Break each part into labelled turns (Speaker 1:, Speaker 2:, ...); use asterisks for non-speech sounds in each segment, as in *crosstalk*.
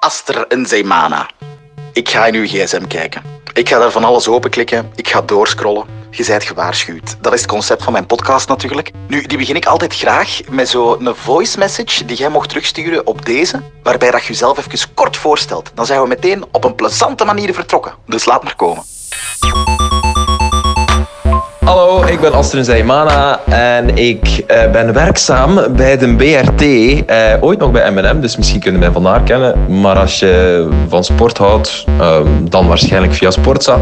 Speaker 1: Aster en Zeemana. Ik ga in uw gsm kijken. Ik ga daar van alles openklikken. Ik ga doorscrollen. Je zijt gewaarschuwd. Dat is het concept van mijn podcast natuurlijk. Nu, die begin ik altijd graag met zo'n voice message die jij mocht terugsturen op deze, waarbij dat je jezelf even kort voorstelt. Dan zijn we meteen op een plezante manier vertrokken. Dus laat maar komen.
Speaker 2: Hallo, ik ben Astrid Zaimana en ik eh, ben werkzaam bij de BRT. eh, ooit nog bij M&M, dus misschien kunnen mij van haar kennen. Maar als je van sport houdt, ehm, dan waarschijnlijk via Sportza.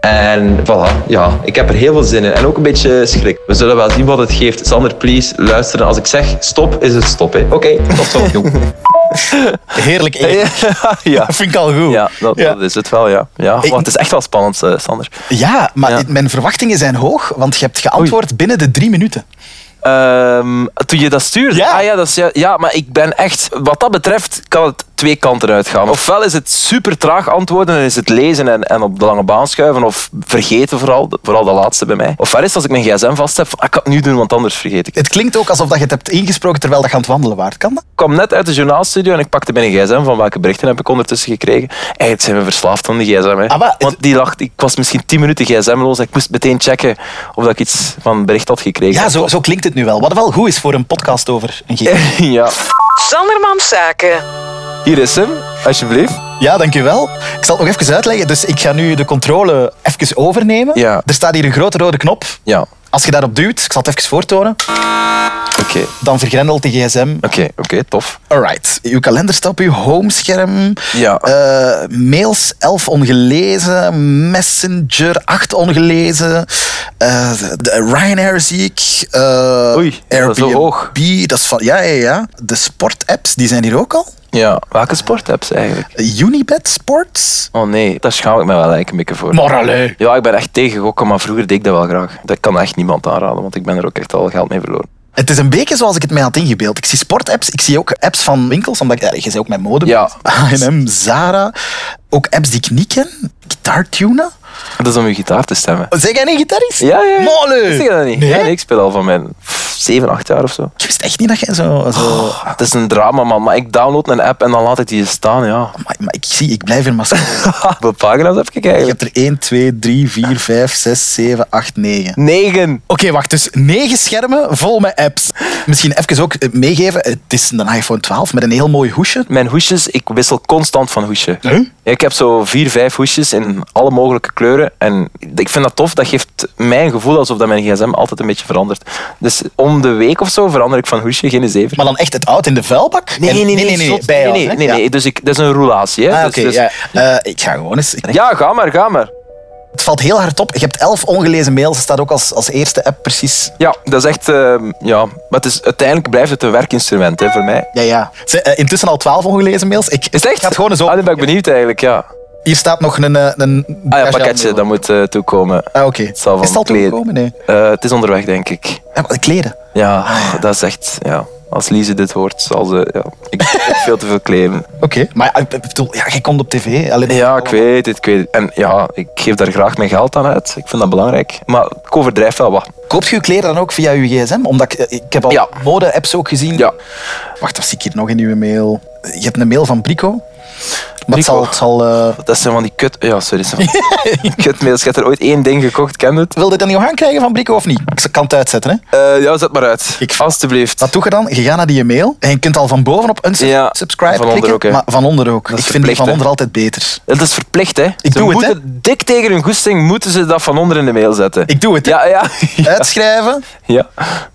Speaker 2: En voilà, ja, ik heb er heel veel zin in. En ook een beetje schrik. We zullen wel zien wat het geeft. Sander, please, luisteren. Als ik zeg stop, is het stop. hè. Oké, tot zo. joep.
Speaker 3: *laughs* Heerlijk eten.
Speaker 4: ja.
Speaker 3: Dat vind ik al goed.
Speaker 4: Ja, dat,
Speaker 3: Ja.
Speaker 4: dat is het wel, ja. ja maar
Speaker 3: Ik-
Speaker 4: het is echt wel spannend, eh, Sander.
Speaker 3: Ja, maar
Speaker 4: Ja.
Speaker 3: dit- mijn verwachtingen zijn hoog, want je hebt geantwoord binnen de drie minuten.
Speaker 4: Ehm, toen je dat stuurde?
Speaker 3: Ja.
Speaker 4: Ah, ja, dat is, ja, ja, maar ik ben echt... Wat dat betreft kan het twee kanten uitgaan. Ofwel is het super traag antwoorden en is het lezen en, en op de lange baan schuiven of vergeten vooral, vooral de laatste bij mij. Ofwel is het als ik mijn gsm vast heb, van, ah, ik kan het nu doen, want anders vergeet ik het.
Speaker 3: Het klinkt ook alsof dat je het hebt ingesproken terwijl dat je aan het wandelen waard kan. dat?
Speaker 4: Ik kwam net uit de journaalstudio en ik pakte mijn gsm van welke berichten heb ik ondertussen gekregen. Eigenlijk zijn we verslaafd aan die gsm. Hè.
Speaker 3: Ah, maar-
Speaker 4: Want die lag, ik was misschien tien minuten gsm-loos en ik moest meteen checken of dat ik iets van een bericht had gekregen.
Speaker 3: Ja, zo, zo klinkt het nu wel. Wat wel goed is voor een podcast over een
Speaker 4: Eh.
Speaker 3: geest.
Speaker 4: *laughs* ja.
Speaker 5: Sandermans Zaken.
Speaker 4: Hier is hem, alsjeblieft.
Speaker 3: Ja, dankjewel. Ik zal het nog even uitleggen. Dus ik ga nu de controle even overnemen.
Speaker 4: Ja.
Speaker 3: Er staat hier een grote rode knop.
Speaker 4: Ja, oké,
Speaker 3: Als je daarop duwt, ik zal het even voortonen,
Speaker 4: oké,
Speaker 3: dan vergrendelt de gsm.
Speaker 4: oké, tof.
Speaker 3: Alright. Uw kalender staat op uw homescherm.
Speaker 4: Ja.
Speaker 3: Eh, mails 11 ongelezen. Messenger 8 ongelezen. Eh, de Ryanair zie ik. Eh,
Speaker 4: Oei, dat is
Speaker 3: Airbnb.
Speaker 4: zo hoog.
Speaker 3: Dat is van, ja, ja, ja. De sportapps, die zijn hier ook al.
Speaker 4: Ja, welke sport heb ze eigenlijk?
Speaker 3: Eh, Unibet Sports.
Speaker 4: Oh nee, daar schaam ik me wel eigenlijk een beetje voor.
Speaker 3: Maar allee.
Speaker 4: Ja, ik ben echt tegen gokken, maar vroeger deed ik dat wel graag. Dat kan echt niemand aanraden, want ik ben er ook echt al geld mee verloren.
Speaker 3: Het is een beetje zoals ik het mij had ingebeeld. Ik zie sportapps, ik zie ook apps van winkels, omdat ik, eh, je zei ook mijn mode.
Speaker 4: Ja.
Speaker 3: H&M, Zara. Ook apps die ik niet ken. Guitar tuner.
Speaker 4: Dat is om je gitaar te stemmen.
Speaker 3: Zeg jij een gitarist?
Speaker 4: Ja, ja.
Speaker 3: Molle.
Speaker 4: Wist je dat niet?
Speaker 3: Nee?
Speaker 4: Ja, nee, ik speel al van mijn 7, 8 jaar of zo.
Speaker 3: Ik wist echt niet dat jij zo... zo...
Speaker 4: Het is een drama, man. Maar ik download een app en dan laat ik die staan, *laughs* ja.
Speaker 3: Maar, maar ik zie, ik blijf in mascara. *laughs*
Speaker 4: Hoeveel pagina's heb ik
Speaker 3: Je
Speaker 4: eigenlijk?
Speaker 3: hebt er 1, 2, 3, 4, 5, 6, 7, 8, 9. Oké,
Speaker 4: 9.
Speaker 3: wacht. Dus 9 schermen vol met apps. Misschien even ook eh, meegeven. Het is een iPhone 12 met een heel mooi hoesje.
Speaker 4: Mijn hoesjes, ik wissel constant van hoesje. Ik heb zo vier, vijf hoesjes in alle mogelijke kleuren. En ik vind dat tof. Dat geeft mij een gevoel alsof dat mijn gsm altijd een beetje verandert. Dus om de week of zo verander ik van hoesje, geen zeven.
Speaker 3: Maar dan echt het oud in de vuilbak? En-
Speaker 4: zot.
Speaker 3: bij
Speaker 4: nee,
Speaker 3: jou,
Speaker 4: nee,
Speaker 3: hè?
Speaker 4: nee,
Speaker 3: Ja.
Speaker 4: nee. Dus ik, dat is een roulatie.
Speaker 3: Ah,
Speaker 4: Hè? Dus-
Speaker 3: oké.
Speaker 4: dus-
Speaker 3: ja. Eh, ik ga gewoon eens...
Speaker 4: ja, ga maar, ga maar.
Speaker 3: Het valt heel hard op. Je hebt 11 ongelezen mails. Dat staat ook als, als eerste app precies.
Speaker 4: Ja, dat is echt... ehm, ja. Maar het is, uiteindelijk blijft het een werkinstrument hè, voor mij.
Speaker 3: Ja, ja. Ze- eh, intussen al 12 ongelezen mails. Ik,
Speaker 4: Is het echt?
Speaker 3: Ik ga het gewoon eens op.
Speaker 4: Ah, nu ben ik benieuwd eigenlijk, ja.
Speaker 3: Hier staat nog een... eh, een
Speaker 4: Ah ja, pakketje, dat moet eh, toekomen.
Speaker 3: Ah, oké.
Speaker 4: Het zal van
Speaker 3: Is het al
Speaker 4: kleden-
Speaker 3: toegekomen? Nee.
Speaker 4: Eh, het is onderweg, denk ik.
Speaker 3: Ja, maar kleden.
Speaker 4: Ja, dat is echt... Ja. Als Lise dit hoort, zal ze... Ja, ik heb veel te veel
Speaker 3: *laughs*
Speaker 4: claimen.
Speaker 3: Oké. Maar ja, ik bedoel, ja, jij komt op tv. Alleen,
Speaker 4: Ja, ik weet het, ik weet het. En ja, ik geef daar graag mijn geld aan uit. Ik vind dat belangrijk. Maar ik overdrijf wel wat.
Speaker 3: Koopt je je kleren dan ook via je gsm? Omdat ik, eh, ik heb al
Speaker 4: Ja.
Speaker 3: mode-apps ook gezien.
Speaker 4: Ja.
Speaker 3: Wacht, wat zie ik hier nog in uw mail? Je hebt een mail van Brico. Maar het zal... Het zal eh,
Speaker 4: Dat zijn van die kut... Ja, sorry. dat zijn van
Speaker 3: *laughs*
Speaker 4: die Kutmails. Je hebt er ooit één ding gekocht, ken je het?
Speaker 3: Wil je dat niet nog aankrijgen van Brico of niet? Ik kan het uitzetten, hè.
Speaker 4: Eh, ja, zet maar uit.
Speaker 3: Ik-
Speaker 4: Alsjeblieft.
Speaker 3: Wat doe je dan? Je gaat naar die mail en je kunt al van bovenop een
Speaker 4: Ja,
Speaker 3: subscribe
Speaker 4: van onder
Speaker 3: klikken,
Speaker 4: ook, hè.
Speaker 3: maar van onder ook.
Speaker 4: Dat is
Speaker 3: ik vind die
Speaker 4: verplicht,
Speaker 3: van
Speaker 4: hè.
Speaker 3: onder altijd beter.
Speaker 4: Het is verplicht, hè. Ik
Speaker 3: doe het,
Speaker 4: moeten, Dik tegen hun goesting moeten ze dat van onder in de mail zetten.
Speaker 3: Ik doe het, *laughs* hè.
Speaker 4: Ja, ja.
Speaker 3: Uitschrijven.
Speaker 4: ja.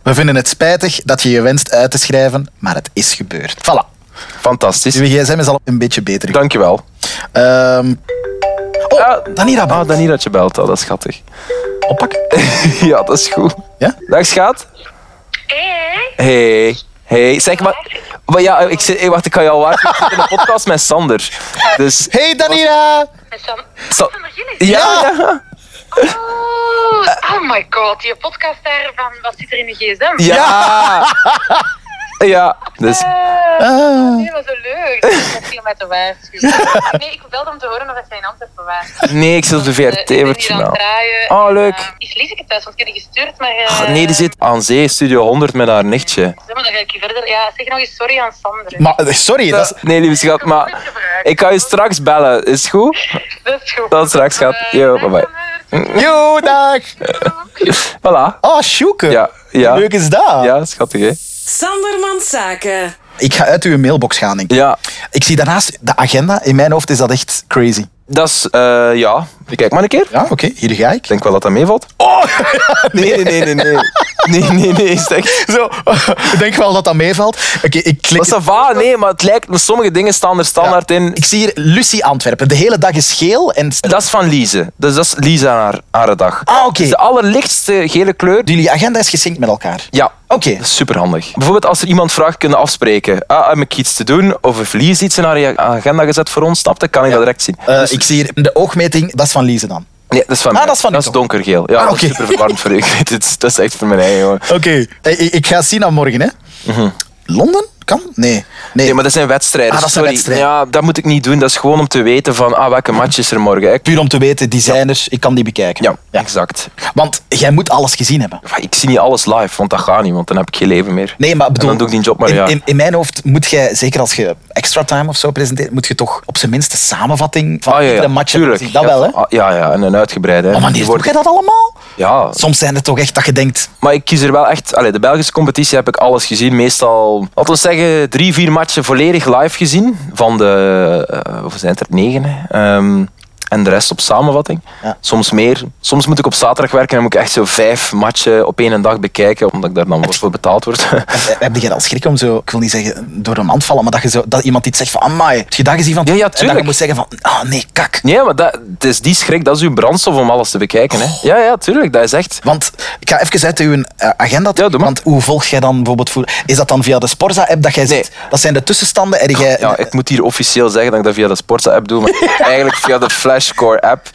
Speaker 3: We vinden het spijtig dat je je wenst uit te schrijven, maar het is gebeurd. Voilà.
Speaker 4: Fantastisch.
Speaker 3: Uw gsm is al een beetje beter.
Speaker 4: Dankjewel.
Speaker 3: Ehm, oh,
Speaker 4: Ah,
Speaker 3: Danira
Speaker 4: Ah,
Speaker 3: belt.
Speaker 4: dan niet dat je belt, al, dat is schattig. *laughs*
Speaker 3: Oppakken.
Speaker 4: ja, dat is goed.
Speaker 3: Ja?
Speaker 4: Dag, schat. Hey. Hey, zeg maar. maar ja, ik zit, eh, wacht, ik kan je al waarschuwen. Ik zit in een podcast met Sander. Dus.
Speaker 3: Hey Danira!
Speaker 6: Sam. Oh,
Speaker 4: Sa-
Speaker 6: Van der Gillis.
Speaker 4: ja, ja,
Speaker 6: Oh, oh my god, die podcast daar van wat zit er in de gsm?
Speaker 4: ja. Ja, dus.
Speaker 6: Eh,
Speaker 3: Ah.
Speaker 6: nee, was zo leuk. Dat viel mij te
Speaker 4: *laughs*
Speaker 6: waarschuwen. Nee, ik belde om te horen of dat jij in Antwerpen was.
Speaker 4: Nee, ik zit op de
Speaker 6: Eh, ik
Speaker 4: VRT,
Speaker 6: ben
Speaker 4: wordt
Speaker 6: hier aan het
Speaker 4: journaal.
Speaker 6: draaien.
Speaker 4: Oh,
Speaker 6: En,
Speaker 4: leuk.
Speaker 6: eh, is Lieseke thuis? Want ik heb die gestuurd, maar... eh,
Speaker 4: Ah, nee, die zit aan zee, Studio 100 met haar nichtje.
Speaker 6: Zeg maar, dan ga ik je verder... Ja, zeg nog eens sorry aan Sander.
Speaker 3: Maar, eh, sorry, dat is,
Speaker 4: Nee, lieve schat, maar. Ik ga je straks bellen, is het goed?
Speaker 6: Dat is goed. Eh,
Speaker 4: Tot straks, schat. Yo, bye bye.
Speaker 3: Yo, dag.
Speaker 4: Voilà.
Speaker 3: Oh, Sjoeke.
Speaker 4: Ja, ja.
Speaker 3: Hoe leuk is dat?
Speaker 4: Ja, schattig, hè?
Speaker 7: Sandermans Zaken.
Speaker 3: Ik ga uit uw mailbox gaan, denk ik.
Speaker 4: Ja,
Speaker 3: Ik zie daarnaast de agenda. In mijn hoofd is dat echt crazy.
Speaker 4: dat is... eh, ja, kijk maar een keer.
Speaker 3: Ja, oké, hier ga ik.
Speaker 4: Ik denk wel dat dat meevalt. Oh! *laughs* Nee, nee, nee, nee. Nee, *laughs* nee, nee. nee is echt...
Speaker 3: Zo, ik denk wel dat dat meevalt. Oké, ik klik.
Speaker 4: Maar ça va, nee, maar het lijkt me... Sommige dingen staan er standaard in.
Speaker 3: Ik zie hier Lucie Antwerpen. De hele dag is geel en
Speaker 4: Dat is van Lise. Dus dat is Lisa haar, haar dag.
Speaker 3: Ah, oké.
Speaker 4: Het is de allerlichtste gele kleur. Die...
Speaker 3: jullie agenda is gesynct met elkaar.
Speaker 4: Ja.
Speaker 3: Oké.
Speaker 4: Dat is superhandig. Bijvoorbeeld als er iemand vraagt, kunnen afspreken. Ah, heb ik iets te doen? Of heeft Lies iets in haar agenda gezet voor ons? Snap je? Kan ik dat direct zien?
Speaker 3: Eh, ik zie hier de oogmeting. Dat is van Lise dan.
Speaker 4: Nee, dat is van
Speaker 3: Ah,
Speaker 4: mij.
Speaker 3: dat is van u toch?
Speaker 4: donkergeel. Ja,
Speaker 3: Ah,
Speaker 4: dat is
Speaker 3: oké.
Speaker 4: super verwarrend voor u. *laughs* Ik weet het. Dat is echt voor mijn eigen, hoor.
Speaker 3: Oké. Eh, Ik, ik ga het zien aan morgen, hè. Londen? Kan? Nee. Nee,
Speaker 4: Mhm. Nee, maar dat zijn wedstrijden.
Speaker 3: Ah, dat zijn
Speaker 4: Sorry.
Speaker 3: wedstrijden.
Speaker 4: Ja, dat moet ik niet doen. Dat is gewoon om te weten van ah, welke match is er morgen. Ik...
Speaker 3: Puur om te weten, designers, ik kan die bekijken.
Speaker 4: Ja, exact.
Speaker 3: Want jij moet alles gezien hebben.
Speaker 4: Enfin, Ik zie niet alles live, want dat gaat niet, want dan heb ik geen leven meer.
Speaker 3: Nee, maar bedoel,
Speaker 4: dan doe ik die job maar,
Speaker 3: in,
Speaker 4: ja.
Speaker 3: in, in mijn hoofd moet jij, zeker als je extra time of zo presenteert, moet je toch op zijn minst de samenvatting van
Speaker 4: Ah, ja, ja,
Speaker 3: iedere match hebben
Speaker 4: tuurlijk.
Speaker 3: gezien. Dat wel, hè? Oh,
Speaker 4: Ja, ah, Ja, ja, en een uitgebreide. hè.
Speaker 3: Maar wanneer
Speaker 4: Die
Speaker 3: doe
Speaker 4: wordt-
Speaker 3: jij dat allemaal?
Speaker 4: Ja,
Speaker 3: Soms zijn het toch echt dat je denkt,
Speaker 4: maar ik kies er wel echt... Allee, de Belgische competitie heb ik alles gezien. Meestal, laten we zeggen, drie, vier matchen volledig live gezien. Van de... eh, hoeveel zijn het er? Negen, hè. Ehm, en de rest op samenvatting.
Speaker 3: Ja.
Speaker 4: Soms meer. Soms moet ik op zaterdag werken en moet ik echt zo vijf matchen op één dag bekijken, omdat ik daar dan voor betaald word. *laughs*
Speaker 3: eh, heb je al schrik om zo, ik wil niet zeggen door een mand vallen, maar dat, je zo, dat iemand iets zegt van, amai, heb je dat gezien van...
Speaker 4: Ja, ja,
Speaker 3: En dat
Speaker 4: tuurlijk.
Speaker 3: je moet zeggen van, ah nee, kak.
Speaker 4: Nee, maar dat, het is die schrik, dat is uw brandstof om alles te bekijken.
Speaker 3: Oh.
Speaker 4: Hè. Ja, ja, tuurlijk, dat is echt.
Speaker 3: Want ik ga even uit uw eh, agenda.
Speaker 4: Ja, doe maar.
Speaker 3: Want hoe volg jij dan bijvoorbeeld voetbal? Is dat dan via de Sporza-app dat jij
Speaker 4: Nee. Ah,
Speaker 3: zegt, dat zijn de tussenstanden en jij...
Speaker 4: Ja, ik moet hier officieel zeggen dat ik dat via de Sportsa-app
Speaker 3: *laughs*
Speaker 4: doe, maar eigenlijk via de Flashcore-app.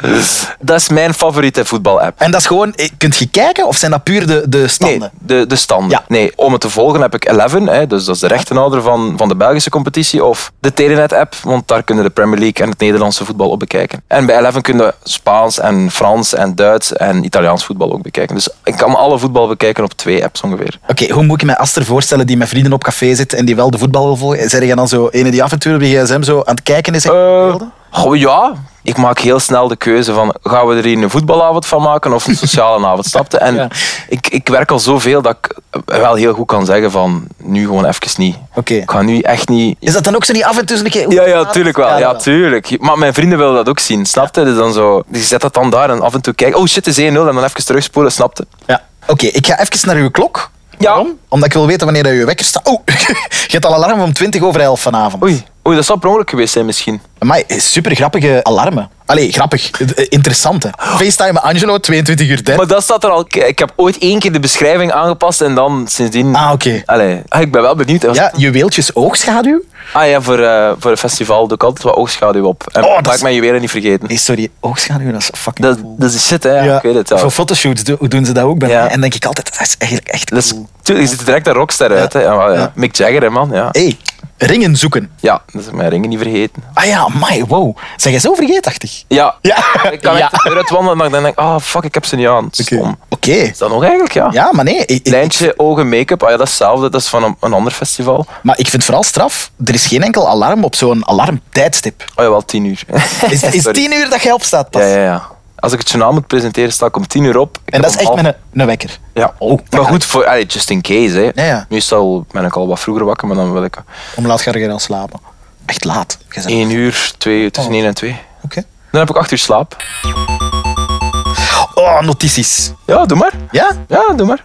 Speaker 4: Dat is mijn favoriete voetbal-app.
Speaker 3: En dat is gewoon, eh, kunt je kijken of zijn dat puur de, de
Speaker 4: Nee,
Speaker 3: standen?
Speaker 4: de, de standen.
Speaker 3: Ja.
Speaker 4: Nee, om het te volgen heb ik Eleven, hè, dus dat is de rechtenhouder van, van de Belgische competitie, of de Telenet-app, want daar kunnen de Premier League en het Nederlandse voetbal op bekijken. En bij Eleven kunnen Spaans en Frans en Duits en Italiaans voetbal ook bekijken. Dus ik kan alle voetbal bekijken op twee apps ongeveer.
Speaker 3: Oké, hoe moet ik me Aster voorstellen die met vrienden op café zit en die wel de voetbal wil volgen? Zijn jij dan zo ene die af en toe op je gsm zo aan het kijken is? en-
Speaker 4: Eh, goh, ja. Ik maak heel snel de keuze van, gaan we er hier een voetbalavond van maken of een
Speaker 3: *laughs*
Speaker 4: sociale avond, snapte? En ik, ik werk al zoveel dat ik wel heel goed kan zeggen van, nu gewoon even niet.
Speaker 3: Oké.
Speaker 4: Ik ga nu echt niet...
Speaker 3: Is dat dan ook zo niet af en toe een keer?
Speaker 4: Ja, ja, tuurlijk wel. Ja,
Speaker 3: tuurlijk.
Speaker 4: tuurlijk. Maar mijn vrienden willen dat ook zien, snapte? Dus dan zo, die zet dat dan daar en af en toe kijken, oh shit, het is 1-0 en dan even terugspoelen, snapte?
Speaker 3: Ja. Oké, ik ga even naar uw klok.
Speaker 4: Ja.
Speaker 3: Omdat ik wil weten wanneer dat je wekker staat. Oh, *laughs* je hebt al alarm om 20 over 11 vanavond.
Speaker 4: Oei, oei, dat zou per ongeluk geweest zijn misschien.
Speaker 3: Amai, super grappige alarmen. Allee, grappig. Eh, Interessante.
Speaker 4: Oh.
Speaker 3: FaceTime Angelo, 22 uur 30.
Speaker 4: Maar dat staat er al... Ik heb ooit één keer de beschrijving aangepast en dan sindsdien...
Speaker 3: Ah, oké.
Speaker 4: Allee, ah, ik ben wel benieuwd. Dat was
Speaker 3: Ja, juweeltjes oogschaduw?
Speaker 4: Ah ja, voor, eh, voor een festival doe ik altijd wat oogschaduw op. En
Speaker 3: Oh, dat
Speaker 4: dat maak
Speaker 3: is-
Speaker 4: ik mijn juwelen niet vergeten.
Speaker 3: Nee, sorry, oogschaduw, dat is fucking
Speaker 4: Dat,
Speaker 3: cool.
Speaker 4: dat is shit, hè.
Speaker 3: Ja,
Speaker 4: Ik weet het. Ja.
Speaker 3: Voor fotoshoots do- doen ze dat ook bij
Speaker 4: Ja. Dus-
Speaker 3: mij. En denk ik altijd, dat is eigenlijk echt
Speaker 4: Dat is,
Speaker 3: cool.
Speaker 4: tuurlijk, je ziet er direct een rockster uit, hè. Ja, maar, ja.
Speaker 3: Ja.
Speaker 4: Mick Jagger, hè, man. Ja.
Speaker 3: hey, ringen zoeken.
Speaker 4: ja, dat is mijn ringen niet vergeten.
Speaker 3: Ah ja, my, wow. Zijn jij zo vergeetachtig?
Speaker 4: Ja.
Speaker 3: Ja.
Speaker 4: *laughs* Ik kan
Speaker 3: Ja.
Speaker 4: echt de deur uitwandelen en dan denk ik, ah, fuck, ik heb ze niet aan. Stom.
Speaker 3: Oké.
Speaker 4: Is dat nog eigenlijk, ja?
Speaker 3: Ja, maar nee. ik- ik-
Speaker 4: Lijntje, ogen, make-up. Ah ja, dat is hetzelfde. Dat is van een, een ander festival.
Speaker 3: maar ik vind het vooral straf. Er is geen enkel alarm op zo'n
Speaker 4: *laughs*
Speaker 3: alarmtijdstip.
Speaker 4: Oh ja, wel tien uur.
Speaker 3: Is, is
Speaker 4: *laughs* Sorry.
Speaker 3: tien uur dat jij opstaat pas?
Speaker 4: Ja, ja, ja. Als ik het journaal moet presenteren, sta ik om tien uur op. Ik
Speaker 3: En
Speaker 4: heb
Speaker 3: dat is
Speaker 4: om
Speaker 3: echt
Speaker 4: half-
Speaker 3: met een, een wekker.
Speaker 4: Ja.
Speaker 3: Oh,
Speaker 4: maar goed, voor, allee, just in case. Hè.
Speaker 3: Ja, ja.
Speaker 4: Meestal ben ik al wat vroeger wakker, maar dan wil ik
Speaker 3: Om laat ga je gaan slapen. Echt laat. Jij zegt-
Speaker 4: 1 uur, 2 uur,
Speaker 3: Oh.
Speaker 4: tussen 1 en 2.
Speaker 3: Oké.
Speaker 4: Dan heb ik 8 uur slaap.
Speaker 3: Oh, notities.
Speaker 4: Ja, doe maar.
Speaker 3: Ja? *laughs*
Speaker 4: Ja, doe maar.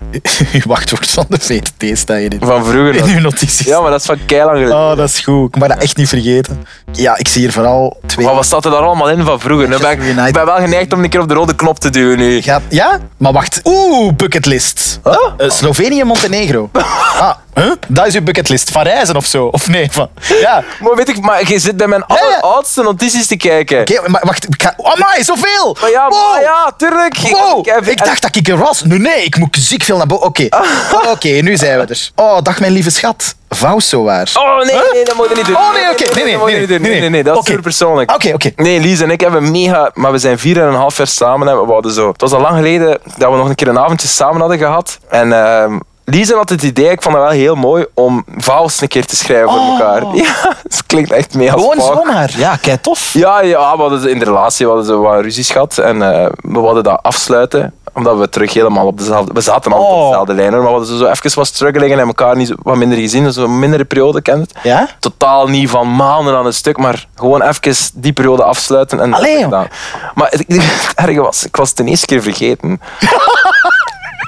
Speaker 3: Je wachtwoord van de VTT staat hier in.
Speaker 4: Van vroeger.
Speaker 3: In
Speaker 4: nog.
Speaker 3: uw notities.
Speaker 4: Ja, maar dat is van keilang geleden.
Speaker 3: Oh, dat is goed. Ik mag dat echt niet vergeten. Ja, ik zie hier vooral twee...
Speaker 4: Maar wat staat er daar allemaal in van vroeger? Nu ben ik,
Speaker 3: United.
Speaker 4: ik ben wel geneigd om een keer op de rode knop te duwen nu.
Speaker 3: Gaat, ja? Maar wacht. Oeh, bucketlist.
Speaker 4: Huh?
Speaker 3: Eh, Slovenië,
Speaker 4: *laughs*
Speaker 3: Montenegro. Ah, huh? Dat is uw bucketlist. Van reizen of zo? Of nee? Van, ja.
Speaker 4: Maar weet ik, maar je zit bij mijn alleroudste notities te kijken.
Speaker 3: Oké, maar wacht. Ik ga... Oh, Amai, zoveel!
Speaker 4: Maar ja,
Speaker 3: Wow.
Speaker 4: maar ja, tuurlijk. Ik-
Speaker 3: Wow,
Speaker 4: ik heb-
Speaker 3: ik dacht dat ik er was. Nee, nee, ik moet ziek veel naar boven. Oké,
Speaker 4: *laughs*
Speaker 3: Oh, oké, nu zijn we er. Oh, dag mijn lieve schat. Vouw zo waar.
Speaker 4: Oh nee, nee, dat moet je niet doen.
Speaker 3: Oh, nee, oké. Nee, nee,
Speaker 4: dat moet je
Speaker 3: nee,
Speaker 4: niet doen.
Speaker 3: nee, nee.
Speaker 4: Nee, nee, nee, dat is
Speaker 3: Oké.
Speaker 4: super persoonlijk.
Speaker 3: Oké, oké.
Speaker 4: Nee, Lies en ik hebben mega... Maar we zijn vier en een half jaar samen. Hè. We hadden zo... Het was al lang geleden dat we nog een keer een avondje samen hadden gehad. En ehm, Lisa had het idee, ik vond dat wel heel mooi, om vouwels een keer te schrijven voor elkaar. *laughs* Ja, het klinkt echt mee als
Speaker 3: Oh. Gewoon
Speaker 4: fuck.
Speaker 3: zomaar. Ja, kijk, tof.
Speaker 4: Ja, ja we hadden ze- in de relatie we hadden ze wat ruzies gehad en eh, we wilden dat afsluiten omdat we terug helemaal op dezelfde... We zaten al op
Speaker 3: Oh.
Speaker 4: dezelfde lijn, hoor, maar we hadden zo even wat struggelingen en elkaar niet zo- wat minder gezien. Dus een mindere periode, kent het?
Speaker 3: Ja?
Speaker 4: Totaal niet van maanden aan een stuk, maar gewoon even die periode afsluiten. En dat
Speaker 3: Allee,
Speaker 4: heb ik gedaan. Maar het, *laughs* het erge was, ik was het de eerste keer vergeten.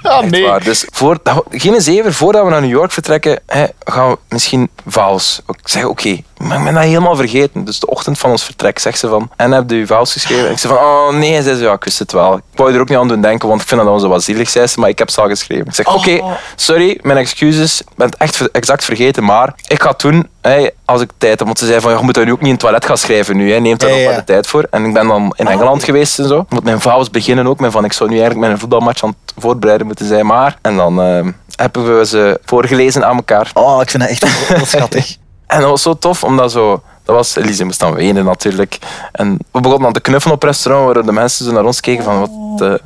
Speaker 3: Ah,
Speaker 4: Echt waar. Dus voor, geen zever, voordat we naar New York vertrekken, hè, gaan we misschien vals. Ik zeg, oké, maar ik ben dat helemaal vergeten. Dus de ochtend van ons vertrek zegt ze van, en heb je je vals geschreven? En ik zeg van, oh nee, zei ze, ja, ik wist het wel. Ik wou je er ook niet aan doen denken, want ik vind dat dan zo wat zielig, zei ze, maar ik heb ze al geschreven. Ik zeg, oké, sorry, mijn excuses, ik ben het echt ver- exact vergeten, maar ik ga het doen, hè, als ik tijd heb. Want ze zei van, ja, je moet dat nu ook niet in het toilet gaan schrijven nu, hè. neem daar
Speaker 3: Ja,
Speaker 4: nog
Speaker 3: ja. Ah.
Speaker 4: wat de tijd voor. En ik ben dan in Engeland geweest en zo. Ik moet mijn vouwels beginnen ook met van, ik zou nu eigenlijk mijn voetbalmatch aan het voorbereiden moeten zijn, maar... En dan eh, hebben we ze voorgelezen aan elkaar.
Speaker 3: Oh, ik vind dat echt heel schattig.
Speaker 4: En dat was zo tof, omdat zo... Dat was, Elise moest dan wenen natuurlijk. En we begonnen dan te knuffelen op restaurant, waar de mensen zo naar ons keken van, wat... eh,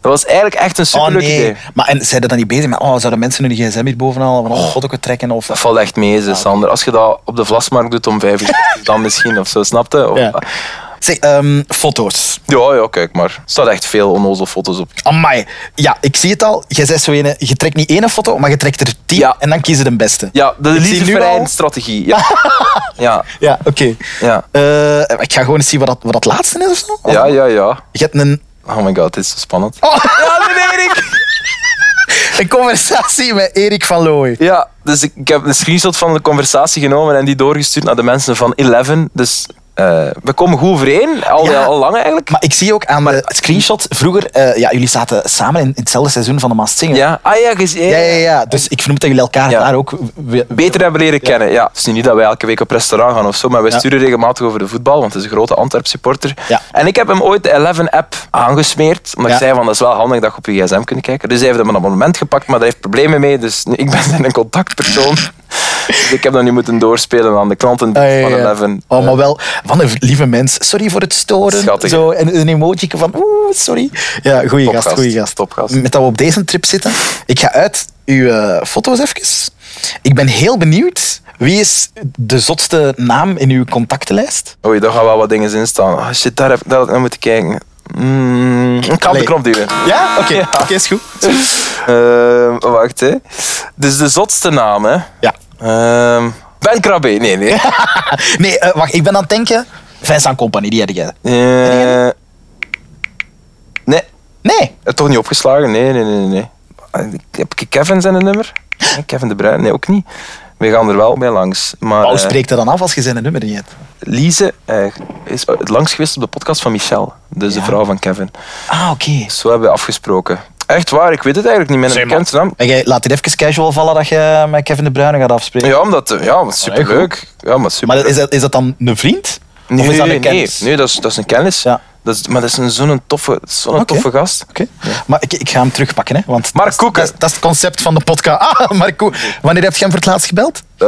Speaker 4: dat was eigenlijk echt een
Speaker 3: Oh
Speaker 4: superleuk idee.
Speaker 3: nee. Maar en zijn er dan niet bezig met, oh, zouden mensen hun gsm hier bovenal van oh, foto trekken? Of,
Speaker 4: Dat valt echt mee, ze, Sander. Als je dat op de vlasmarkt doet om vijf uur, dan misschien of zo, snapte? Of,
Speaker 3: Ja. Zeg, ehm, foto's.
Speaker 4: Ja, ja, kijk maar. Er staan echt veel onnozel foto's op.
Speaker 3: Amai. Ja, ik zie het al. Jij zegt zo ene, je trekt niet één foto, maar je trekt er tien
Speaker 4: Ja.
Speaker 3: en dan kies je de beste.
Speaker 4: Ja, de
Speaker 3: Ik zie
Speaker 4: Elise
Speaker 3: nu
Speaker 4: Verijn
Speaker 3: al-
Speaker 4: strategie.
Speaker 3: *laughs*
Speaker 4: Ja. ja,
Speaker 3: Ja, oké.
Speaker 4: ja,
Speaker 3: Eh, ik ga gewoon eens zien wat dat, wat dat laatste is of zo.
Speaker 4: ja, ja, ja.
Speaker 3: Je hebt een,
Speaker 4: Oh my god, dit is zo spannend.
Speaker 3: Oh.
Speaker 4: Ja, nee, Erik!
Speaker 3: een conversatie met Erik van Looy.
Speaker 4: Ja, dus ik, ik heb een screenshot van de conversatie genomen en die doorgestuurd naar de mensen van Eleven. Dus eh, we komen goed overeen, al,
Speaker 3: Ja.
Speaker 4: al lang eigenlijk.
Speaker 3: Maar ik zie ook aan de screenshot, vroeger, eh, ja, jullie zaten samen in, in hetzelfde seizoen van de Maas Singer.
Speaker 4: Ja, ah ja, gez-
Speaker 3: ja, ja, ja. Dus ik vermoed dat jullie elkaar
Speaker 4: Ja.
Speaker 3: daar ook... we- we-
Speaker 4: beter hebben leren kennen. Ja. Het is nu niet dat wij elke week op restaurant gaan of zo, maar wij sturen regelmatig over de voetbal, want hij is een grote Antwerp supporter.
Speaker 3: Ja.
Speaker 4: En ik heb hem ooit de Eleven app aangesmeerd, omdat ik
Speaker 3: Ja.
Speaker 4: zei van dat is wel handig dat je op je gsm kunt kijken. Dus hij heeft hem een abonnement gepakt, maar daar heeft problemen mee, dus *laughs* nu- ik ben een contactpersoon. dus ik heb dat nu moeten doorspelen aan de klanten
Speaker 3: Ah, ja, ja,
Speaker 4: van
Speaker 3: ja.
Speaker 4: Eleven.
Speaker 3: Oh, maar wel, van een lieve mens. Sorry voor het storen.
Speaker 4: Schattig, hè?
Speaker 3: Zo, en een emoji van, oeh, sorry. Ja, goeie
Speaker 4: Topgast,
Speaker 3: gast, goeie gast.
Speaker 4: topgast.
Speaker 3: Met dat we op deze trip zitten. Ik ga uit uw eh, foto's even. Ik ben heel benieuwd. Wie is de zotste naam in uw contactenlijst?
Speaker 4: Oei, daar gaan wel wat dingen in staan. Ah, shit, daar heb ik daar had ik naar moeten kijken. Mm, ik kan op de
Speaker 3: Allee.
Speaker 4: knop duwen.
Speaker 3: Ja? Oké, Oké, is goed.
Speaker 4: Eh, wacht, hè. Dus de zotste naam, hè.
Speaker 3: Ja.
Speaker 4: Ehm, ben Krabbe, nee, nee.
Speaker 3: Nee, eh, wacht, ik ben aan het denken. Vincent Company, die had jij.
Speaker 4: Eh, nee,
Speaker 3: Nee.
Speaker 4: eh, toch niet opgeslagen? Nee, nee, nee, nee. Eh, Heb ik Kevin zijn nummer? Nee, Kevin de Bruyne? Nee, ook niet. We gaan er wel bij langs. Maar
Speaker 3: Oh,
Speaker 4: eh,
Speaker 3: spreek dat dan af als je zijn nummer niet hebt.
Speaker 4: Lise eh, is langs geweest op de podcast van Michel. Dus de vrouw van Kevin.
Speaker 3: Ah, oké.
Speaker 4: Zo hebben we afgesproken. Echt waar, ik weet het eigenlijk niet. Mijn bekend naam.
Speaker 3: En jij laat dit even casual vallen dat je met Kevin De Bruyne gaat afspreken.
Speaker 4: Ja, omdat, eh, ja, wat superleuk. Ja, maar super.
Speaker 3: Maar is dat, is dat dan een vriend?
Speaker 4: nee,
Speaker 3: of is dat
Speaker 4: nee,
Speaker 3: een kennis?
Speaker 4: nee, dat is, dat is een kennis.
Speaker 3: Ja.
Speaker 4: Dat is, maar dat is een- zo'n toffe, zo'n toffe gast.
Speaker 3: Oké. Maar ik, ik ga hem terugpakken, hè? Want
Speaker 4: Mark
Speaker 3: dat is-
Speaker 4: Koeken.
Speaker 3: Dat, is- dat is het concept van de podcast. Ah, *laughs* Mark Koeken. Wanneer heb je hem voor het laatst gebeld?
Speaker 4: Eh,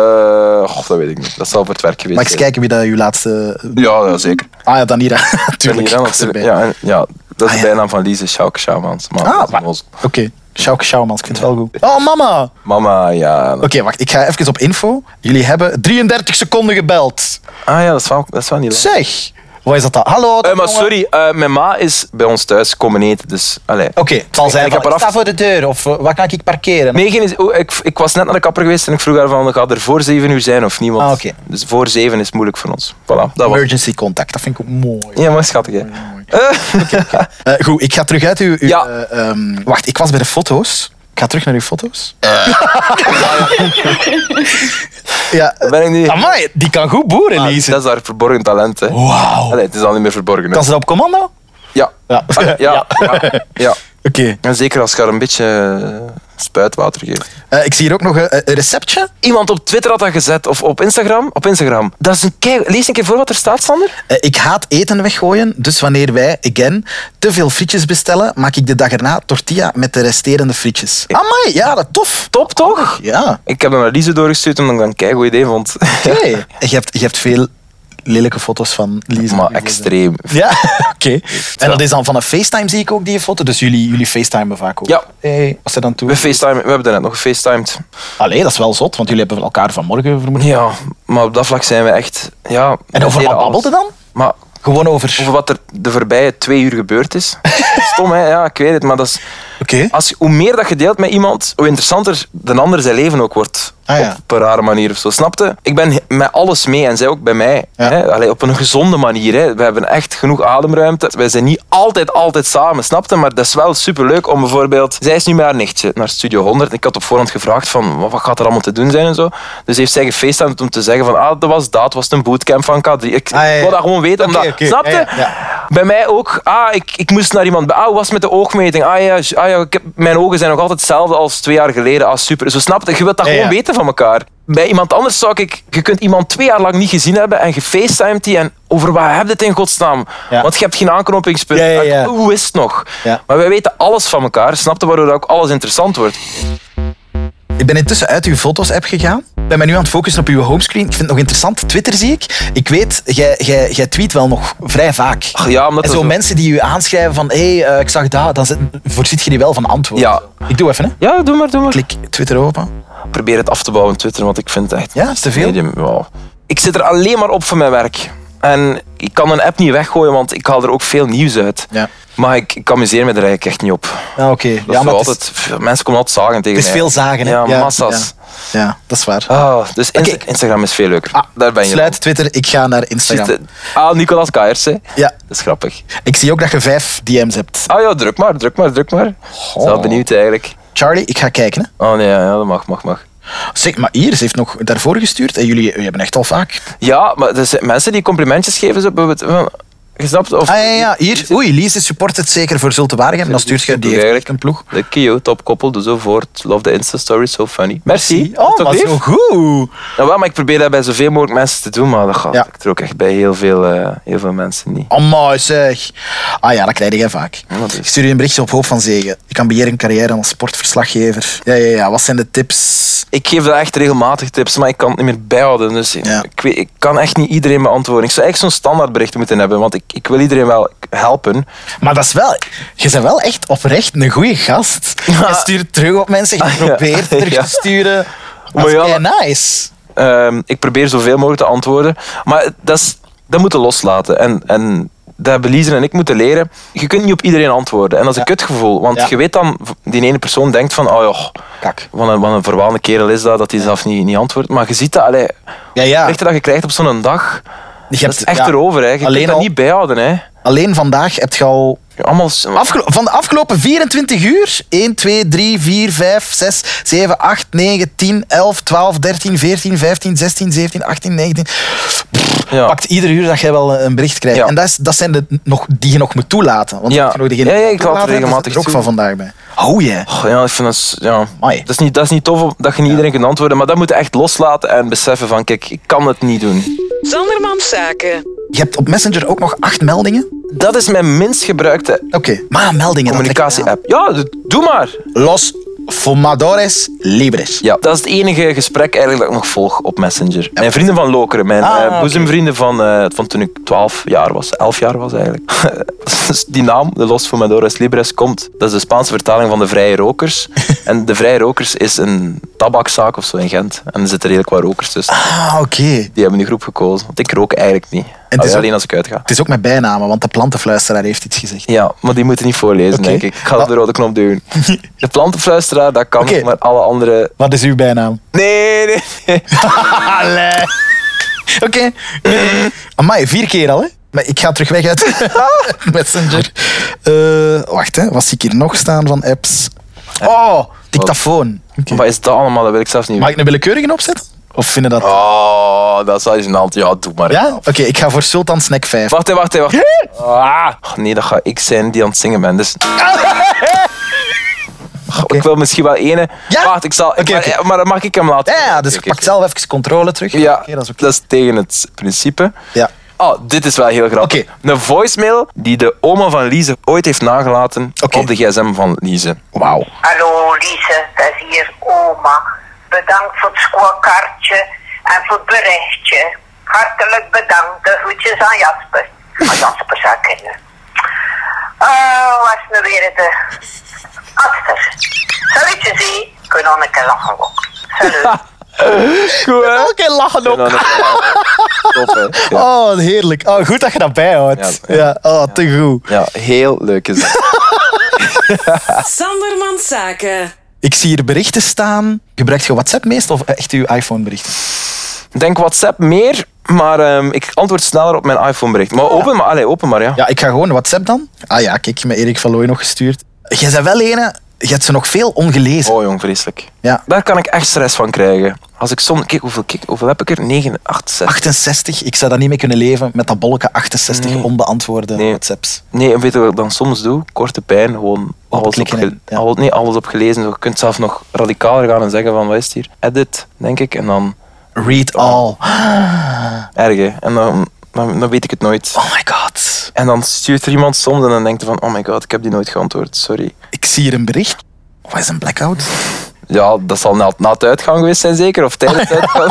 Speaker 4: goh, dat weet ik niet. Dat zal voor het werk geweest
Speaker 3: Mag ik eens kijken wie dat uw laatste. eh,
Speaker 4: Ja, ja, zeker.
Speaker 3: Ah ja, Danira. *laughs* Tuurlijk.
Speaker 4: Hier, hè,
Speaker 3: ik
Speaker 4: want
Speaker 3: was erbij.
Speaker 4: ze- ja, en- ja, dat is
Speaker 3: Ah,
Speaker 4: de
Speaker 3: ja.
Speaker 4: bijnaam van Lise Schauk Schaumans. Maar
Speaker 3: Ah,
Speaker 4: dat is
Speaker 3: maar-
Speaker 4: een onzin.
Speaker 3: Oké. Sjouke Sjouwmans, ik vind het wel goed. Oh, mama! Oké,
Speaker 4: Mama, ja.
Speaker 3: wacht. Ik ga even op info. Jullie hebben 33 seconden gebeld.
Speaker 4: Ah ja, dat is wel, dat is wel niet leuk.
Speaker 3: Zeg! Wat is dat dan? Hallo?
Speaker 4: Eh, maar
Speaker 3: jongen.
Speaker 4: sorry, eh, mijn ma is bij ons thuis komen eten, dus... Allee.
Speaker 3: Oké, het zal zijn.
Speaker 4: Ik
Speaker 3: Ik,
Speaker 4: heb
Speaker 3: van,
Speaker 4: er
Speaker 3: ik
Speaker 4: af-
Speaker 3: sta voor de deur of eh, wat kan ik parkeren?
Speaker 4: Nee, geen, oh, ik, ik was net naar de kapper geweest en ik vroeg haar van, gaat er voor zeven uur zijn of niet? Want
Speaker 3: Ah, oké.
Speaker 4: Dus voor zeven is moeilijk voor ons. Voilà, dat was...
Speaker 3: Emergency contact, dat vind ik ook mooi.
Speaker 4: Ja, maar schattig, hè. Eh,
Speaker 3: Eh, goed, ik ga terug uit uw... uw,
Speaker 4: Ja.
Speaker 3: eh, ehm, wacht, ik was bij de foto's. Ik ga terug naar uw foto's.
Speaker 4: Eh.
Speaker 3: *laughs* ja,
Speaker 4: daar ben ik nu...
Speaker 3: eh, amai, die kan goed boeren,
Speaker 4: Ah,
Speaker 3: Lise.
Speaker 4: dat is haar verborgen talent, hè.
Speaker 3: Wauw.
Speaker 4: Allee, het is al niet meer verborgen. hè.
Speaker 3: Kan ze Oh. dat op commando?
Speaker 4: Ja.
Speaker 3: *laughs*
Speaker 4: Ah,
Speaker 3: Ja.
Speaker 4: Ja, ja, ja,
Speaker 3: Oké.
Speaker 4: En zeker als je haar een beetje eh, spuitwater geeft.
Speaker 3: Eh, ik zie hier ook nog eh, een receptje.
Speaker 4: Iemand op Twitter had dat gezet, of op Instagram. Op Instagram. Dat is een kei... Lees een keer voor wat er staat, Sander.
Speaker 3: Eh, ik haat eten weggooien, dus wanneer wij, again, te veel frietjes bestellen, maak ik de dag erna tortilla met de resterende frietjes. Amai, ja, dat tof.
Speaker 4: Top, toch?
Speaker 3: Ja. *laughs*
Speaker 4: Ik heb hem naar Lise doorgestuurd, omdat ik dat een keigoed idee vond.
Speaker 3: Oké. Je, hebt, je hebt veel lelijke foto's van Lisa.
Speaker 4: Maar extreem.
Speaker 3: *laughs*
Speaker 4: *laughs*
Speaker 3: Ja, oké. En dat is dan vanaf FaceTime zie ik ook die foto. Dus jullie, jullie FaceTimen vaak ook.
Speaker 4: Ja.
Speaker 3: Hey, als ze dan toe.
Speaker 4: We, facetime, we hebben daarnet nog gefacetimed.
Speaker 3: Allee, dat is wel zot, want jullie hebben elkaar vanmorgen vermoed.
Speaker 4: Ja, maar op dat vlak zijn we echt... Ja,
Speaker 3: En over wat babbelde
Speaker 4: babbelde
Speaker 3: dan?
Speaker 4: Maar
Speaker 3: Gewoon over.
Speaker 4: over wat er de voorbije twee uur
Speaker 3: *laughs*
Speaker 4: gebeurd is. Stom, hè? Ja, ik weet het. Maar dat is,
Speaker 3: Oké.
Speaker 4: als, hoe meer dat je deelt met iemand, hoe interessanter de ander zijn leven ook wordt.
Speaker 3: Ah, ja.
Speaker 4: Op een rare manier of zo. Snapte? Ik ben he- met alles mee en zij ook bij mij. Hè? Allee, op een gezonde manier. Hè? We hebben echt genoeg ademruimte. Wij zijn niet altijd, altijd samen, snapte? Maar dat is wel superleuk om bijvoorbeeld. Zij is nu met haar nichtje naar Studio 100. Ik had op voorhand gevraagd van wat wat gaat er allemaal te doen zijn en zo. Dus heeft zij gefeestdaad om te zeggen van ah, dat was dat, dat was een bootcamp van K3. Ik
Speaker 3: Ah, ja, ja.
Speaker 4: ik wil dat gewoon weten.
Speaker 3: Oké,
Speaker 4: omdat,
Speaker 3: oké.
Speaker 4: Snapte?
Speaker 3: Ja, ja, ja.
Speaker 4: Bij mij ook. Ah, ik, ik moest naar iemand. bij- Ah, hoe was het met de oogmeting? Ah ja, j- ah, ja ik heb, mijn ogen zijn nog altijd hetzelfde als twee jaar geleden. Ah, super. Zo snap je. Je wilt dat
Speaker 3: Ja,
Speaker 4: gewoon
Speaker 3: ja.
Speaker 4: weten van elkaar. Bij iemand anders zou ik... Je kunt iemand twee jaar lang niet gezien hebben en je facetimed die en over wat heb je het in godsnaam?
Speaker 3: Ja.
Speaker 4: Want je hebt geen aanknopingspunt.
Speaker 3: Ja, ja, ja.
Speaker 4: Ah, Hoe is het nog?
Speaker 3: Ja.
Speaker 4: Maar wij weten alles van elkaar. Snap je waardoor dat ook alles interessant wordt?
Speaker 3: Ik ben intussen uit uw foto's-app gegaan. Ik ben mij nu aan het focussen op uw homescreen. Ik vind het nog interessant. Twitter zie ik. Ik weet, jij, jij, jij tweet wel nog vrij vaak.
Speaker 4: Ach, ja, omdat
Speaker 3: en
Speaker 4: dat
Speaker 3: zo,
Speaker 4: zo-
Speaker 3: mensen die u aanschrijven van hé, hey, eh, ik zag dat, dan zit- voorziet je die wel van antwoord.
Speaker 4: Ja.
Speaker 3: Ik doe even, hè.
Speaker 4: Ja, doe maar, doe maar.
Speaker 3: Klik Twitter open.
Speaker 4: Probeer het af te bouwen, Twitter, want ik vind het echt...
Speaker 3: Ja, is te veel.
Speaker 4: Nee, die- wauw. Ik zit er alleen maar op van mijn werk. En ik kan een app niet weggooien, want ik haal er ook veel nieuws uit.
Speaker 3: Ja.
Speaker 4: Maar ik, ik amuseer me er eigenlijk echt niet op.
Speaker 3: Ja, oké.
Speaker 4: Dat
Speaker 3: Ja,
Speaker 4: is
Speaker 3: maar
Speaker 4: zo
Speaker 3: het is-
Speaker 4: altijd, pff, mensen komen altijd zagen tegen
Speaker 3: Het is
Speaker 4: mij.
Speaker 3: veel zagen, hè?
Speaker 4: Ja,
Speaker 3: Ja,
Speaker 4: massa's.
Speaker 3: Ja, dat is waar.
Speaker 4: Ah, dus Insta-
Speaker 3: Oké.
Speaker 4: Instagram is veel leuker.
Speaker 3: Ah,
Speaker 4: Daar ben je.
Speaker 3: Sluit Twitter, ik ga naar
Speaker 4: Precies,
Speaker 3: Instagram.
Speaker 4: de- Ah, Nicolas Kaers, hè.
Speaker 3: Ja,
Speaker 4: Dat is grappig.
Speaker 3: ik zie ook dat je vijf DM's hebt. Oh.
Speaker 4: Ah ja, druk maar, druk maar, druk maar. Ik ben wel benieuwd eigenlijk.
Speaker 3: Charlie, ik ga kijken. Hè.
Speaker 4: Oh nee, ja, dat mag, mag, mag.
Speaker 3: Zeg, maar hier, ze heeft nog daarvoor gestuurd. En jullie, jullie hebben echt al vaak.
Speaker 4: Ja, maar er zijn mensen die complimentjes geven, zo, bijvoorbeeld van, je snapt? Of,
Speaker 3: Ah ja, ja, hier. Oei, Lise support het zeker voor zulte waarheid. Dan stuurt je die heeft
Speaker 4: Eigenlijk.
Speaker 3: echt een ploeg.
Speaker 4: De Kio, topkoppel, doe dus zo voort. Love the Insta-story, so funny. Merci.
Speaker 3: Oh,
Speaker 4: Toch
Speaker 3: maar
Speaker 4: lief?
Speaker 3: zo goed.
Speaker 4: Nou, wel, maar ik probeer dat bij zoveel mogelijk mensen te doen, maar dat gaat
Speaker 3: Ja.
Speaker 4: ik er ook echt bij heel veel, eh, heel veel mensen niet.
Speaker 3: Amai zeg. Ah ja, dat krijg jij vaak.
Speaker 4: dat is-
Speaker 3: Ik stuur je een berichtje op Hoop van Zegen. Ik ambieer een carrière als sportverslaggever. Ja, ja, ja. Wat zijn de tips?
Speaker 4: Ik geef daar echt regelmatig tips, maar ik kan het niet meer bijhouden. Dus ik-
Speaker 3: Ja.
Speaker 4: ik, weet, ik kan echt niet iedereen beantwoorden. Ik zou echt zo'n standaardbericht moeten hebben, want ik, ik wil iedereen wel helpen.
Speaker 3: Maar dat is wel... Je bent wel echt oprecht een goede gast. Je stuurt terug op mensen. Je
Speaker 4: Ah, *laughs* ja.
Speaker 3: probeert terug
Speaker 4: Ja.
Speaker 3: te sturen. Dat
Speaker 4: Maar
Speaker 3: is
Speaker 4: ja,
Speaker 3: kei nice.
Speaker 4: Ehm, ik probeer zoveel mogelijk te antwoorden. Maar dat, is, dat moeten loslaten. En, en dat hebben Lies en ik moeten leren. Je kunt niet op iedereen antwoorden. En dat is een kutgevoel. Want
Speaker 3: Ja.
Speaker 4: je weet dan, die ene persoon denkt van... Oh, joh,
Speaker 3: Kak.
Speaker 4: Wat een, wat een verwaande kerel is dat, dat hij zelf niet, niet antwoordt. Maar je ziet dat, allee,
Speaker 3: Ja, ja.
Speaker 4: lichter dat je krijgt op zo'n dag,
Speaker 3: Je
Speaker 4: dat
Speaker 3: hebt-
Speaker 4: is echt
Speaker 3: ja,
Speaker 4: erover. Hè. Je
Speaker 3: alleen
Speaker 4: kunt dat
Speaker 3: al-
Speaker 4: niet bijhouden. Hè.
Speaker 3: Alleen vandaag heb je al...
Speaker 4: Allemaal s-
Speaker 3: Afgelo- van de afgelopen 24 uur. 1, 2, 3, 4, 5, 6, 7, 8, 9, 10, 11, 12, 13, 14, 15, 16, 17, 18, 19.
Speaker 4: ja.
Speaker 3: Pakt ieder uur dat jij wel een bericht krijgt.
Speaker 4: Ja.
Speaker 3: En dat, is, dat zijn de nog, die je nog moet toelaten. Want
Speaker 4: Ja.
Speaker 3: heb je nog degene
Speaker 4: Ja, ja,
Speaker 3: die
Speaker 4: ik laat er
Speaker 3: toelaten,
Speaker 4: regelmatig
Speaker 3: daar zit er ook
Speaker 4: toe.
Speaker 3: van vandaag bij. Hou je?
Speaker 4: Och, ja, ik vind dat, s- ja.
Speaker 3: Amai.
Speaker 4: dat, is niet, dat is niet tof dat je niet iedereen kunt antwoorden. Maar dat moet je echt loslaten en beseffen van, kijk, ik kan het niet doen.
Speaker 7: Sandermans Zaken.
Speaker 3: Je hebt op Messenger ook nog acht meldingen.
Speaker 4: Dat is mijn minst gebruikte
Speaker 3: Oké. Maar meldingen. dat trekt me aan.
Speaker 4: communicatie-app. Ja, d- doe maar.
Speaker 3: eh, Los fumadores libres.
Speaker 4: Ja, dat is het enige gesprek eigenlijk dat ik nog volg op Messenger. Mijn vrienden van Lokeren, mijn
Speaker 3: Ah,
Speaker 4: eh,
Speaker 3: oké.
Speaker 4: boezemvrienden van, eh, van toen ik 12 jaar was, 11 jaar was eigenlijk. *laughs* Dus die naam, de Los Fumadores Libres, komt. Dat is de Spaanse vertaling van de Vrije
Speaker 3: *laughs*
Speaker 4: Rokers. en de Vrije Rokers is een tabakzaak of zo in Gent. En er zitten redelijk wat rokers tussen.
Speaker 3: Ah, oké.
Speaker 4: Die hebben die groep gekozen, want ik rook eigenlijk niet.
Speaker 3: het is
Speaker 4: Allee,
Speaker 3: ook-
Speaker 4: alleen als ik uitga.
Speaker 3: Het is ook met bijnamen, want de plantenfluisteraar heeft iets gezegd.
Speaker 4: Ja, maar die moeten niet voorlezen,
Speaker 3: Oké.
Speaker 4: denk ik. Ik ga op
Speaker 3: Maar-
Speaker 4: de rode
Speaker 3: *laughs*
Speaker 4: knop duwen. De plantenfluisteraar, dat kan,
Speaker 3: Oké.
Speaker 4: maar alle andere...
Speaker 3: Wat is uw bijnaam?
Speaker 4: Nee, nee, nee.
Speaker 3: Allee. *laughs* Oké. Amai, vier keer al, hè? Maar ik ga terug weg uit *laughs* Messenger. Eh, wacht, hè. Wat zie ik hier nog staan van apps? Oh, dictafoon.
Speaker 4: *laughs* Wat is dat allemaal? Dat wil ik zelfs niet
Speaker 3: Mag ik een willekeurige opzetten? Of vinden dat...
Speaker 4: Oh, dat is wel eens een hand. Ja, doe maar.
Speaker 3: Ja? Oké, ik ga voor Sultan Snack 5.
Speaker 4: Wacht, hè, wacht, hè, wacht. Ah. Oh, nee, dat ga ik zijn die aan het zingen ben. Dus... Goh, Ik wil misschien wel ene.
Speaker 3: Ja?
Speaker 4: Wacht, ik zal. ik-
Speaker 3: Oké,
Speaker 4: maar, eh,
Speaker 3: oké.
Speaker 4: maar dan mag ik hem laten.
Speaker 3: Ja, dus
Speaker 4: Oké,
Speaker 3: pak
Speaker 4: oké.
Speaker 3: zelf even controle terug.
Speaker 4: Ja,
Speaker 3: Oké, dat is oké.
Speaker 4: tegen het principe.
Speaker 3: Ja.
Speaker 4: Oh, dit is wel heel grappig.
Speaker 3: Oké.
Speaker 4: Een voicemail die de oma van Lize ooit heeft nagelaten
Speaker 3: Oké.
Speaker 4: op de gsm van Lize.
Speaker 3: Wauw.
Speaker 8: Hallo Lise, dat is hier oma. Bedankt voor het scoorkaartje en voor het berichtje. Hartelijk bedankt. De groetjes aan Jasper. Aan Jasper zou ik kennen. Oh, was nu weer het... eh, Aster. Salutje zie. Kunnen we een keer lachen ook. Salut.
Speaker 4: Goed, hè?
Speaker 3: Oké, lachen op.
Speaker 4: Ja,
Speaker 3: *laughs*
Speaker 4: Top, hè? Ja.
Speaker 3: Oh, heerlijk. Oh, goed dat je dat bijhoudt.
Speaker 4: Ja,
Speaker 3: Ja, oh, te goed.
Speaker 4: Ja, heel leuk is dat.
Speaker 7: Sandermans Zaken.
Speaker 3: Ik zie hier berichten staan. Gebruikt je WhatsApp meestal of echt je iPhone berichten?
Speaker 4: Ik denk WhatsApp meer, maar ehm, ik antwoord sneller op mijn iPhone-bericht. Maar open maar, allez, open maar, ja.
Speaker 3: Ah. Ja, ik ga gewoon WhatsApp dan. Ah ja, kijk, met Erik van Looy nog gestuurd. Jij bent wel ene, je hebt ze nog veel ongelezen.
Speaker 4: Oh jong, vreselijk.
Speaker 3: Ja.
Speaker 4: Daar kan ik echt stress van krijgen. Als ik soms... Kijk, hoeveel, kijk, hoeveel heb ik er? 9, 8, 6.
Speaker 3: 68, ik zou daar niet mee kunnen leven met dat bolletje 68
Speaker 4: Nee.
Speaker 3: onbeantwoorde
Speaker 4: Nee.
Speaker 3: WhatsApps.
Speaker 4: Nee, en weet je wat ik dan soms doe? Korte pijn, gewoon alles op,
Speaker 3: klikken en- ja.
Speaker 4: alles, nee, alles op gelezen. Je kunt zelf nog radicaler gaan en zeggen van, wat is het hier? Edit, denk ik. En dan
Speaker 3: Read
Speaker 4: Oh.
Speaker 3: all.
Speaker 4: erg, hè. En dan, dan, dan weet ik het nooit.
Speaker 3: Oh my god.
Speaker 4: En dan stuurt er iemand soms en dan denkt hij van, oh my god, ik heb die nooit geantwoord, sorry.
Speaker 3: Ik zie hier een bericht. Wat is een blackout?
Speaker 4: Ja, dat zal na, na het uitgaan geweest zijn zeker, of tijdens
Speaker 3: *laughs*
Speaker 4: het uitgaan.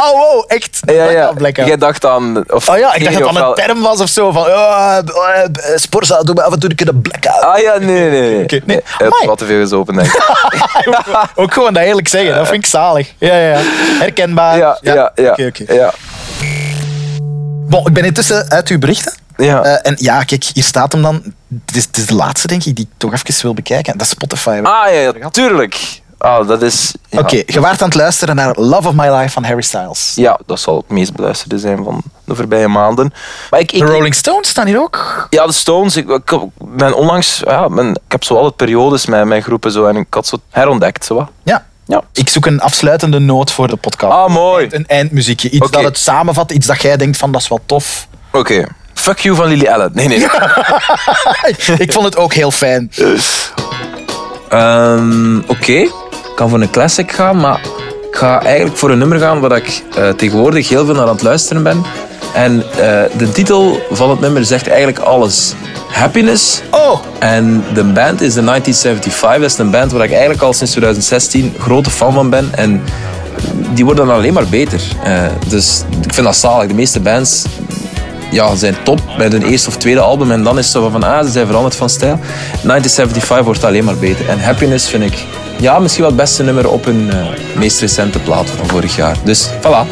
Speaker 3: Oh, wow, echt?
Speaker 4: Ja, ja.
Speaker 3: Een blackout.
Speaker 4: Jij dacht aan... Of,
Speaker 3: Oh ja, ik
Speaker 4: nee,
Speaker 3: dacht dat dat
Speaker 4: ofwel-
Speaker 3: een term was of zo. Van, oh, eh, eh, sportzaal, doe me af en toe een keer een blackout.
Speaker 4: Ah ja, nee, nee, nee.
Speaker 3: *laughs* Oké, nee.
Speaker 4: nee. Hij heeft
Speaker 3: Amai.
Speaker 4: wat te veel gezopen, denk
Speaker 3: *laughs*
Speaker 4: ik.
Speaker 3: Ook gewoon dat eerlijk zeggen, dat vind ik zalig. Ja, ja, Eh, ja. Herkenbaar.
Speaker 4: Ja, ja, ja.
Speaker 3: Oké,
Speaker 4: ja,
Speaker 3: oké.
Speaker 4: ja,
Speaker 3: Bon, ik ben intussen uit uw berichten.
Speaker 4: ja.
Speaker 3: Eh, en ja, kijk, hier staat hem dan. Het is, het is de laatste, denk ik, die ik toch even wil bekijken. Dat is Spotify. Oké,
Speaker 4: Ah ja, ja, tuurlijk. Ah, dat is... ja.
Speaker 3: je waart aan het luisteren naar Love of My Life van Harry Styles.
Speaker 4: Ja, dat zal het meest beluisterde zijn van de voorbije maanden. Maar ik,
Speaker 3: De
Speaker 4: ik,
Speaker 3: Rolling Stones staan hier ook.
Speaker 4: ja, de Stones, ik, ik ben onlangs, ja, ben, ik heb zo altijd periodes met mijn groepen zo, en ik had zo herontdekt. Zo. wat.
Speaker 3: Ja.
Speaker 4: Ja.
Speaker 3: Ik zoek een afsluitende noot voor de podcast.
Speaker 4: Ah, mooi.
Speaker 3: Een eindmuziekje. Iets
Speaker 4: Oké.
Speaker 3: dat het samenvat, iets dat jij denkt van dat is wel tof.
Speaker 4: Oké. Fuck you van Lily Allen. Nee,
Speaker 3: *laughs*
Speaker 4: nee. nee.
Speaker 3: ik vond het ook heel fijn.
Speaker 2: Ehm, Oké, ik kan voor een classic gaan, maar ik ga eigenlijk voor een nummer gaan waar ik eh, tegenwoordig heel veel naar aan het luisteren ben. En eh, de titel van het nummer zegt eigenlijk alles. Happiness.
Speaker 3: Oh.
Speaker 2: En de band is de 1975. Dat is een band waar ik eigenlijk al sinds 2016 grote fan van ben. En die worden dan alleen maar beter. Eh, dus ik vind dat zalig. De meeste bands ja, zijn top met hun eerste of tweede album. En dan is het zo van, ah, ze zijn veranderd van stijl. 1975 wordt alleen maar beter. En Happiness vind ik, ja, misschien wel het beste nummer op hun eh, meest recente plaat van vorig jaar. Dus voilà.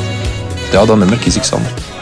Speaker 2: Ja, dat nummer kies ik, Sander.